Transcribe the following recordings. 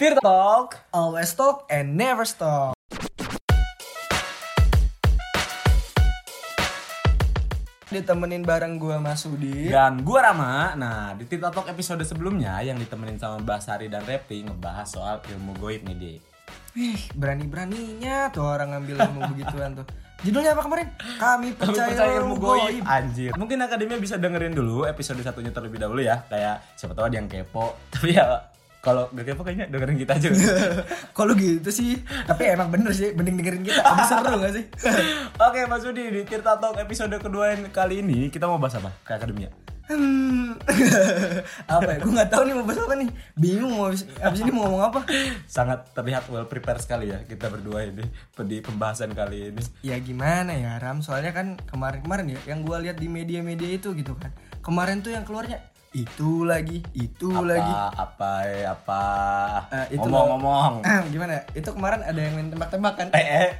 Tirta Talk, always talk and never stop. Ditemenin bareng gue Mas Udi. Dan gua Rama, nah di Tirta Talk episode sebelumnya yang ditemenin sama Basari dan Repti ngebahas soal ilmu goib nih deh. Wih, berani-beraninya tuh orang ngambil ilmu begituan tuh. Judulnya apa kemarin? Kami Kami percaya, percaya ilmu goib Anjir Mungkin akademia bisa dengerin dulu episode satunya terlebih dahulu ya Kayak siapa tahu ada yang kepo Tapi ya kalau gak kepo kayaknya dengerin kita aja Kalau gitu sih, tapi emang bener sih, mending dengerin kita. Lebih seru gak sih? Oke Mas Udi, di Tirta Talk episode kedua ini- kali ini kita mau bahas apa? Ke akademia Hmm. apa ya? Gue nggak tahu nih mau bahas apa nih. Bingung mau abis, abis ini mau ngomong apa? Sangat terlihat well prepared sekali ya kita berdua ini Di pembahasan kali ini Ya gimana ya Ram? Soalnya kan kemarin-kemarin ya, yang gue lihat di media-media itu gitu kan. Kemarin tuh yang keluarnya itu lagi, itu apa, lagi. Apa, apa Eh, itu loh. Ngomong-ngomong gimana? Itu kemarin ada yang main kan? tembak-tembakan. Eh, eh.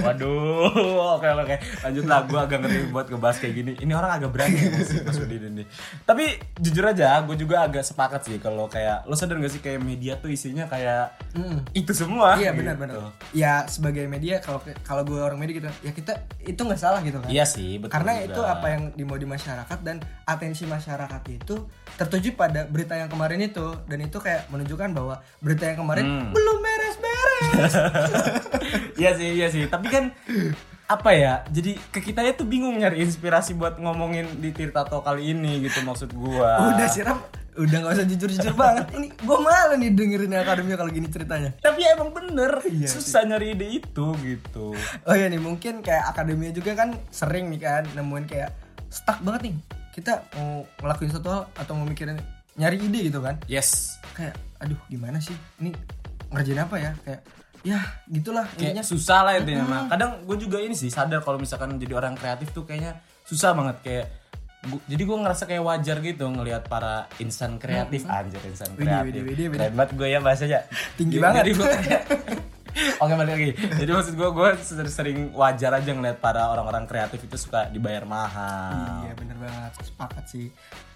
Waduh, oke oke. Lanjutlah, gue agak ngeri buat ngebahas kayak gini. Ini orang agak berani ya, Mas, Mas Udin ini. Tapi jujur aja, gue juga agak sepakat sih kalau kayak lo sadar gak sih kayak media tuh isinya kayak Mm. itu semua. Iya gitu. benar-benar. Ya sebagai media kalau kalau gue orang media gitu, ya kita itu nggak salah gitu kan. Iya sih, betul. Karena juga. itu apa yang dimau di masyarakat dan atensi masyarakat itu tertuju pada berita yang kemarin itu dan itu kayak menunjukkan bahwa berita yang kemarin Hmm. belum beres-beres. Iya sih, iya sih. Tapi kan apa ya? Jadi ke kita itu bingung nyari inspirasi buat ngomongin di Tirtato kali ini gitu maksud gua. udah siram, udah nggak usah jujur-jujur banget. Ini gue malu nih dengerin akademia kalau gini ceritanya. Tapi emang bener Iya sih. susah nyari ide itu gitu. Oh iya nih mungkin kayak akademia juga kan sering nih kan nemuin kayak stuck banget nih. Kita mau ngelakuin satu hal atau mau mikirin nyari ide gitu kan. Yes, Kayak aduh gimana sih? Ini ngerjain apa ya? Kayak ya gitulah kayaknya susah lah intinya mah kadang gue juga ini sih sadar kalau misalkan jadi orang kreatif tuh kayaknya susah banget kayak gu- jadi gue ngerasa kayak wajar gitu ngelihat para insan kreatif anjir insan Widih, kreatif widih, widih, widih. keren banget gue ya bahasanya Jadi- Tinggi banget. jadi gua kayak- Oke balik lagi. Jadi maksud gue gue sering wajar aja ngelihat para orang-orang kreatif itu suka dibayar mahal. Iya bener banget sepakat sih.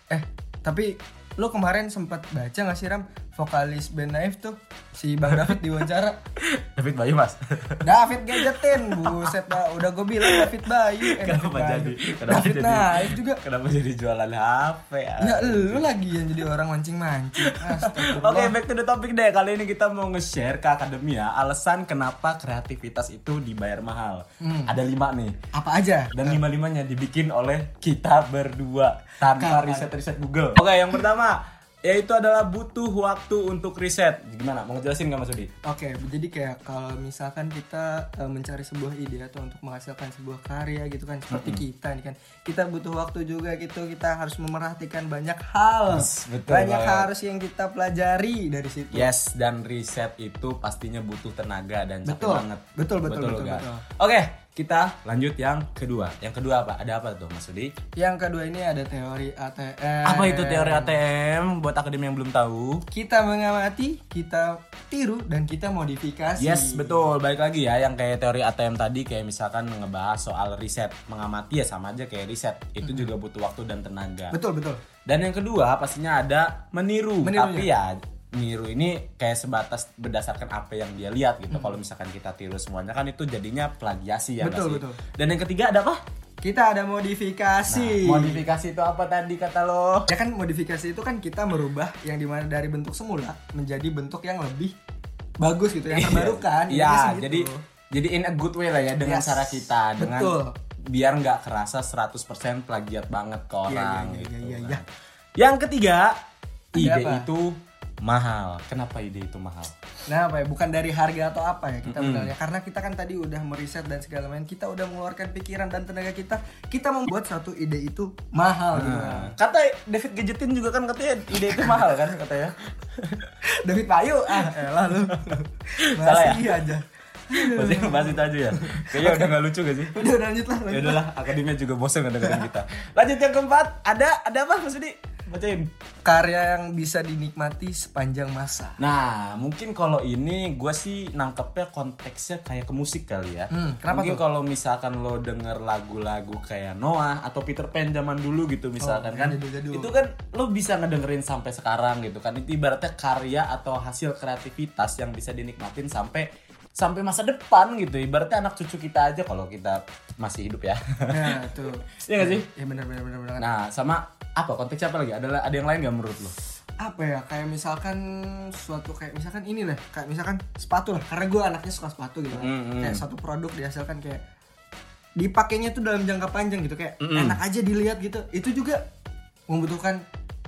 Eh tapi lo kemarin sempat baca gak sih Ram vokalis band Naif tuh si Bang David diwawancara David Bayu mas. David gadgetin buset dah udah gue bilang David Bayu eh, kenapa jadi? David Bayu. Kenapa David jadi? Naif juga Kenapa jadi jualan HP? ya lu lagi yang jadi orang mancing mancing Oke, back to the topic deh. Kali ini kita mau nge-share ke akademia alasan kenapa kreativitas itu dibayar mahal. Hmm. Ada lima nih. apa aja Dan lima-limanya dibikin oleh kita berdua tanpa Kapan? riset-riset Google. Oke, yang pertama yaitu adalah butuh waktu untuk riset. Gimana? Mau ngejelasin nggak Mas Udi? Oke, jadi kayak kalau misalkan kita eh, mencari sebuah ide atau untuk menghasilkan sebuah karya gitu kan seperti kita nih kan. Kita butuh waktu juga gitu. Kita harus memerhatikan banyak hal. Yes, betul banyak banget. harus yang kita pelajari dari situ. Yes, dan riset itu pastinya butuh tenaga dan capek Betul. banget. Betul, betul, betul, guys. betul. Oke, kita lanjut yang kedua. Yang kedua apa? Ada apa tuh Mas Udi? Yang kedua ini ada teori E. ATM. Apa itu teori ATM buat akademi yang belum tahu? Kita mengamati, kita tiru dan kita modifikasi. Yes, betul. Baik lagi ya yang kayak teori ATM tadi kayak misalkan ngebahas soal riset, mengamati ya sama aja kayak riset. Itu juga butuh waktu dan tenaga. Betul, betul. Dan yang kedua pastinya ada meniru. Meniru iya. Tapi ya meniru ini kayak sebatas berdasarkan apa yang dia lihat gitu. Kalau misalkan kita tiru semuanya kan itu jadinya plagiasi ya nggak Betul, sih? betul. Dan yang ketiga ada apa? Kita ada Nah, modifikasi. Modifikasi itu apa tadi kata lo? Ya kan modifikasi itu kan kita merubah yang dimana dari bentuk semula menjadi bentuk yang lebih bagus gitu, yang terbarukan. intinya sih Iya, gitu. jadi jadi in a good way lah ya dengan Yes, cara kita dengan betul. biar nggak kerasa 100% plagiat banget ke iya, orang iya, gitu. iya, kan. iya. Yang ketiga, Ada ide apa? itu mahal. Kenapa ide itu mahal? nah apa ya bukan dari harga atau apa ya kita bilangnya karena kita kan tadi udah meriset dan segala macam kita udah mengeluarkan pikiran dan tenaga kita kita membuat satu ide itu mahal gitu. Nah, Kata David Gadgetin juga kan katanya ide itu mahal kan katanya. David Payu ah elah lu Salah ya? masih aja Masih bahas itu aja ya. Kayaknya udah nggak lucu gak sih? udah udah lanjut lah Ya lanjut. udahlah, akademia juga bosen ngedengerin kita. Lanjut yang keempat, ada ada apa Mas Budi? bacain karya yang bisa dinikmati sepanjang masa Nah, mungkin kalau ini gue sih nangkepnya konteksnya kayak ke musik kali ya. Hmm, kenapa mungkin tuh? kalau misalkan lo denger lagu-lagu kayak Noah atau Peter Pan zaman dulu gitu misalkan Oh, kan, jadul-jadul. itu kan lo bisa ngedengerin sampai sekarang gitu kan. Itu ibaratnya karya atau hasil kreativitas yang bisa dinikmatin sampai sampai masa depan gitu. Ibaratnya anak cucu kita aja kalau kita masih hidup ya. nah tuh Iya nggak sih? ya benar benar benar benar Nah, sama apa konteksnya apa lagi? Ada ada yang lain nggak menurut lo? apa ya kayak misalkan suatu kayak misalkan ini lah kayak misalkan sepatu lah karena gue anaknya suka sepatu gitu kan. Mm, mm. kayak satu produk dihasilkan kayak dipakainya tuh dalam jangka panjang gitu kayak Mm, mm. enak aja dilihat gitu itu juga membutuhkan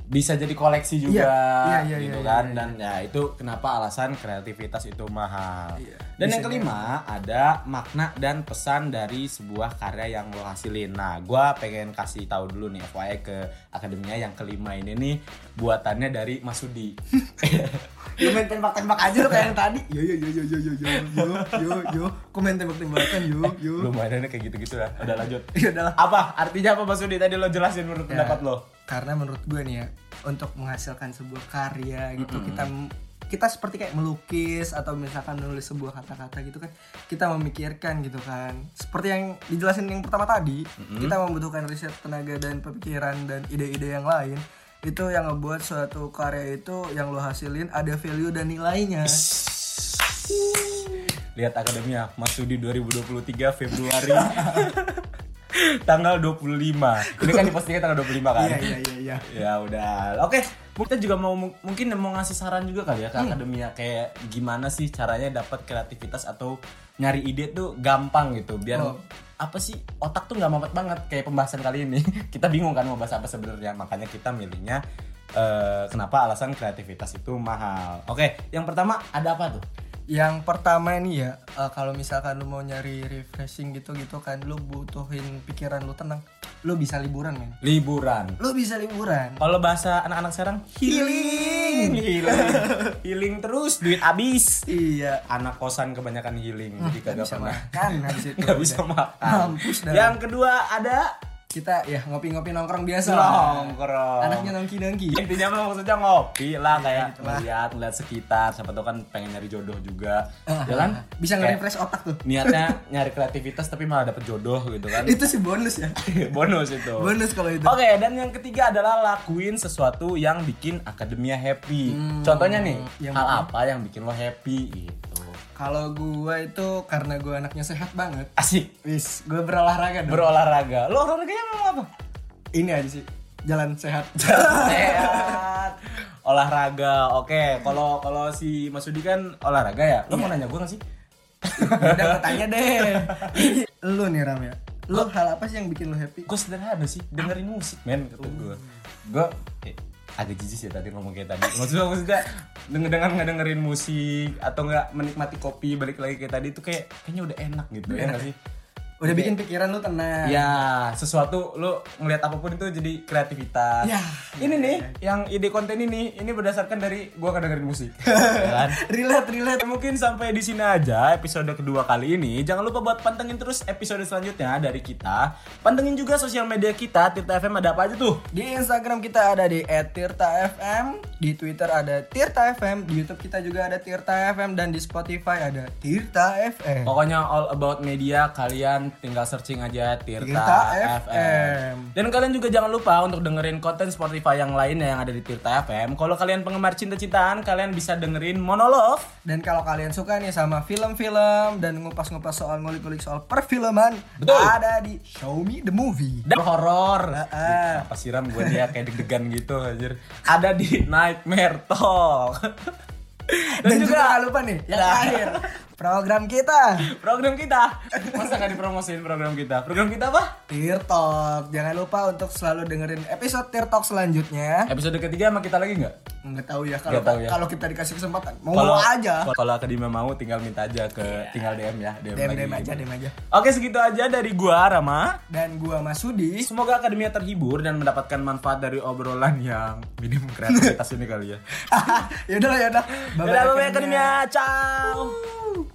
bisa jadi koleksi juga Iya, iya, iya, gitu iya, kan iya, dan ya itu kenapa alasan kreativitas itu mahal Iya, dan bisa yang kelima ada makna dan pesan dari sebuah karya yang lo hasilin nah gua pengen kasih tahu dulu nih FYI ke akademia yang kelima ini nih buatannya dari Mas Sudi lu main tembak-tembak aja lu kayak yang tadi yo yo yo yo yo yo yo yo yo yo Kok main tembak-tembakan yo yo lumayannya kayak gitu-gitu lah udah lanjut ya udah lah. apa artinya apa Mas Sudi tadi lo jelasin menurut Ya. pendapat lo karena menurut gue nih ya untuk menghasilkan sebuah karya gitu kita kita seperti kayak melukis atau misalkan menulis sebuah kata-kata gitu kan kita memikirkan gitu kan seperti yang dijelasin yang pertama tadi kita membutuhkan riset tenaga dan pemikiran dan ide-ide yang lain itu yang ngebuat suatu karya itu yang lo hasilin ada value dan nilainya Lihat akademia Mas Sudi 2023 Februari tanggal 25. Ini kan dipostingnya tanggal 25 kan. iya iya iya iya Ya udah. Oke, kita juga mau mungkin mau ngasih saran juga kali ya Hmm. ke akademia kayak gimana sih caranya dapat kreativitas atau nyari ide tuh gampang gitu biar Oh. apa sih otak tuh nggak mampet banget kayak pembahasan kali ini kita bingung kan mau bahas apa sebenarnya makanya kita milihnya eh, kenapa alasan kreativitas itu mahal oke yang pertama ada apa tuh Yang pertama nih ya, eh, kalau misalkan lu mau nyari refreshing gitu-gitu kan, lu butuhin pikiran lu tenang. Lu bisa liburan, men. liburan Lu bisa liburan. Kalau bahasa anak-anak sekarang healing, healing, healing terus duit habis. Iya. Anak kosan kebanyakan healing, jadi Gak kagak Ah, bisa pernah makan habis itu. nggak bisa makan. Iya. Mampus dah. Yang kedua ada Kita ya ngopi-ngopi nongkrong biasa lah. nongkrong. Iya, Anaknya nongki-nongki. Intinya mah maksudnya ngopi lah kayak gitu lah. melihat melihat sekitar. Siapa tau kan pengen nyari jodoh juga, ya kan? Ah, Bisa Kayak nge-refresh otak tuh. Niatnya nyari kreativitas tapi malah dapet jodoh gitu kan. Itu sih bonus ya. Bonus itu. Bonus kalau itu. Oke, dan yang ketiga adalah lakuin sesuatu yang bikin akademia happy. Hmm, Contohnya nih, yang hal apa yang bikin lo happy gitu. Kalau gua itu karena gua anaknya sehat banget. Asik. Wis, gua berolahraga dong. Berolahraga. Lo olahraganya mau apa? Ini aja sih. Jalan sehat. Sehat. olahraga. Oke, kalau kalau si Mas Sudi kan olahraga ya. Lo mau nanya gue gak sih? Udah tanya deh. lu nih Ram ya. Lu hal apa sih yang bikin lu happy? Gue sederhana sih, dengerin musik men kata gue. Gue eh, agak jijik sih tadi ngomong kayak tadi. Maksudnya maksudnya denger dengan ngedengerin musik atau nggak menikmati kopi balik lagi kayak tadi itu kayak kayaknya udah enak gitu ya nggak sih? Udah bikin pikiran lu tenang. Ya, sesuatu lu ngelihat apapun itu jadi kreativitas. Ya. Ini nih yang ide konten ini ini berdasarkan dari gua kedengerin musik. Iya. ya kan? Relate, relate. Ya, Mungkin sampai di sini aja episode kedua kali ini. Jangan lupa buat pantengin terus episode selanjutnya dari kita. Pantengin juga sosial media kita, Tirta FM ada apa aja tuh? Di Instagram kita ada di @tirtafm, di Twitter ada Tirta FM, di YouTube kita juga ada Tirta FM dan di Spotify ada Tirta FM. Pokoknya all about media kalian tinggal searching aja Tirta, Tirta FM. FM. Dan kalian juga jangan lupa untuk dengerin konten Spotify yang lainnya yang ada di Tirta FM. Kalau kalian penggemar cinta-cintaan, kalian bisa dengerin monolog Dan kalau kalian suka nih sama film-film dan ngupas-ngupas soal ngulik-ngulik soal perfilman, Betul. ada di Show Me the Movie. dan Ah, horor. Apa siram gue dia kayak deg-degan gitu anjir. Ada di Nightmare Talk. Dan, Dan, juga, juga, jangan lupa nih, yang Nah. terakhir program kita program kita. Masa gak dipromosiin program kita? Program kita apa? Tirtok. Jangan lupa untuk selalu dengerin episode Tirtok selanjutnya. Episode ketiga sama kita lagi nggak? Nggak tahu ya kalau Nggak tahu ya. kalau kita dikasih kesempatan, mau aja. Iya. Kalau akademia mau tinggal minta aja ke tinggal DM ya, DM, Dem lagi. dem aja, dem aja. Oke, segitu aja dari gua Rama. Dan gua Mas Sudi. Semoga akademia terhibur dan mendapatkan manfaat dari obrolan yang minim kreativitas ini kali ya. ya udah ya udah. Dadah, bye-bye akademia. Ciao.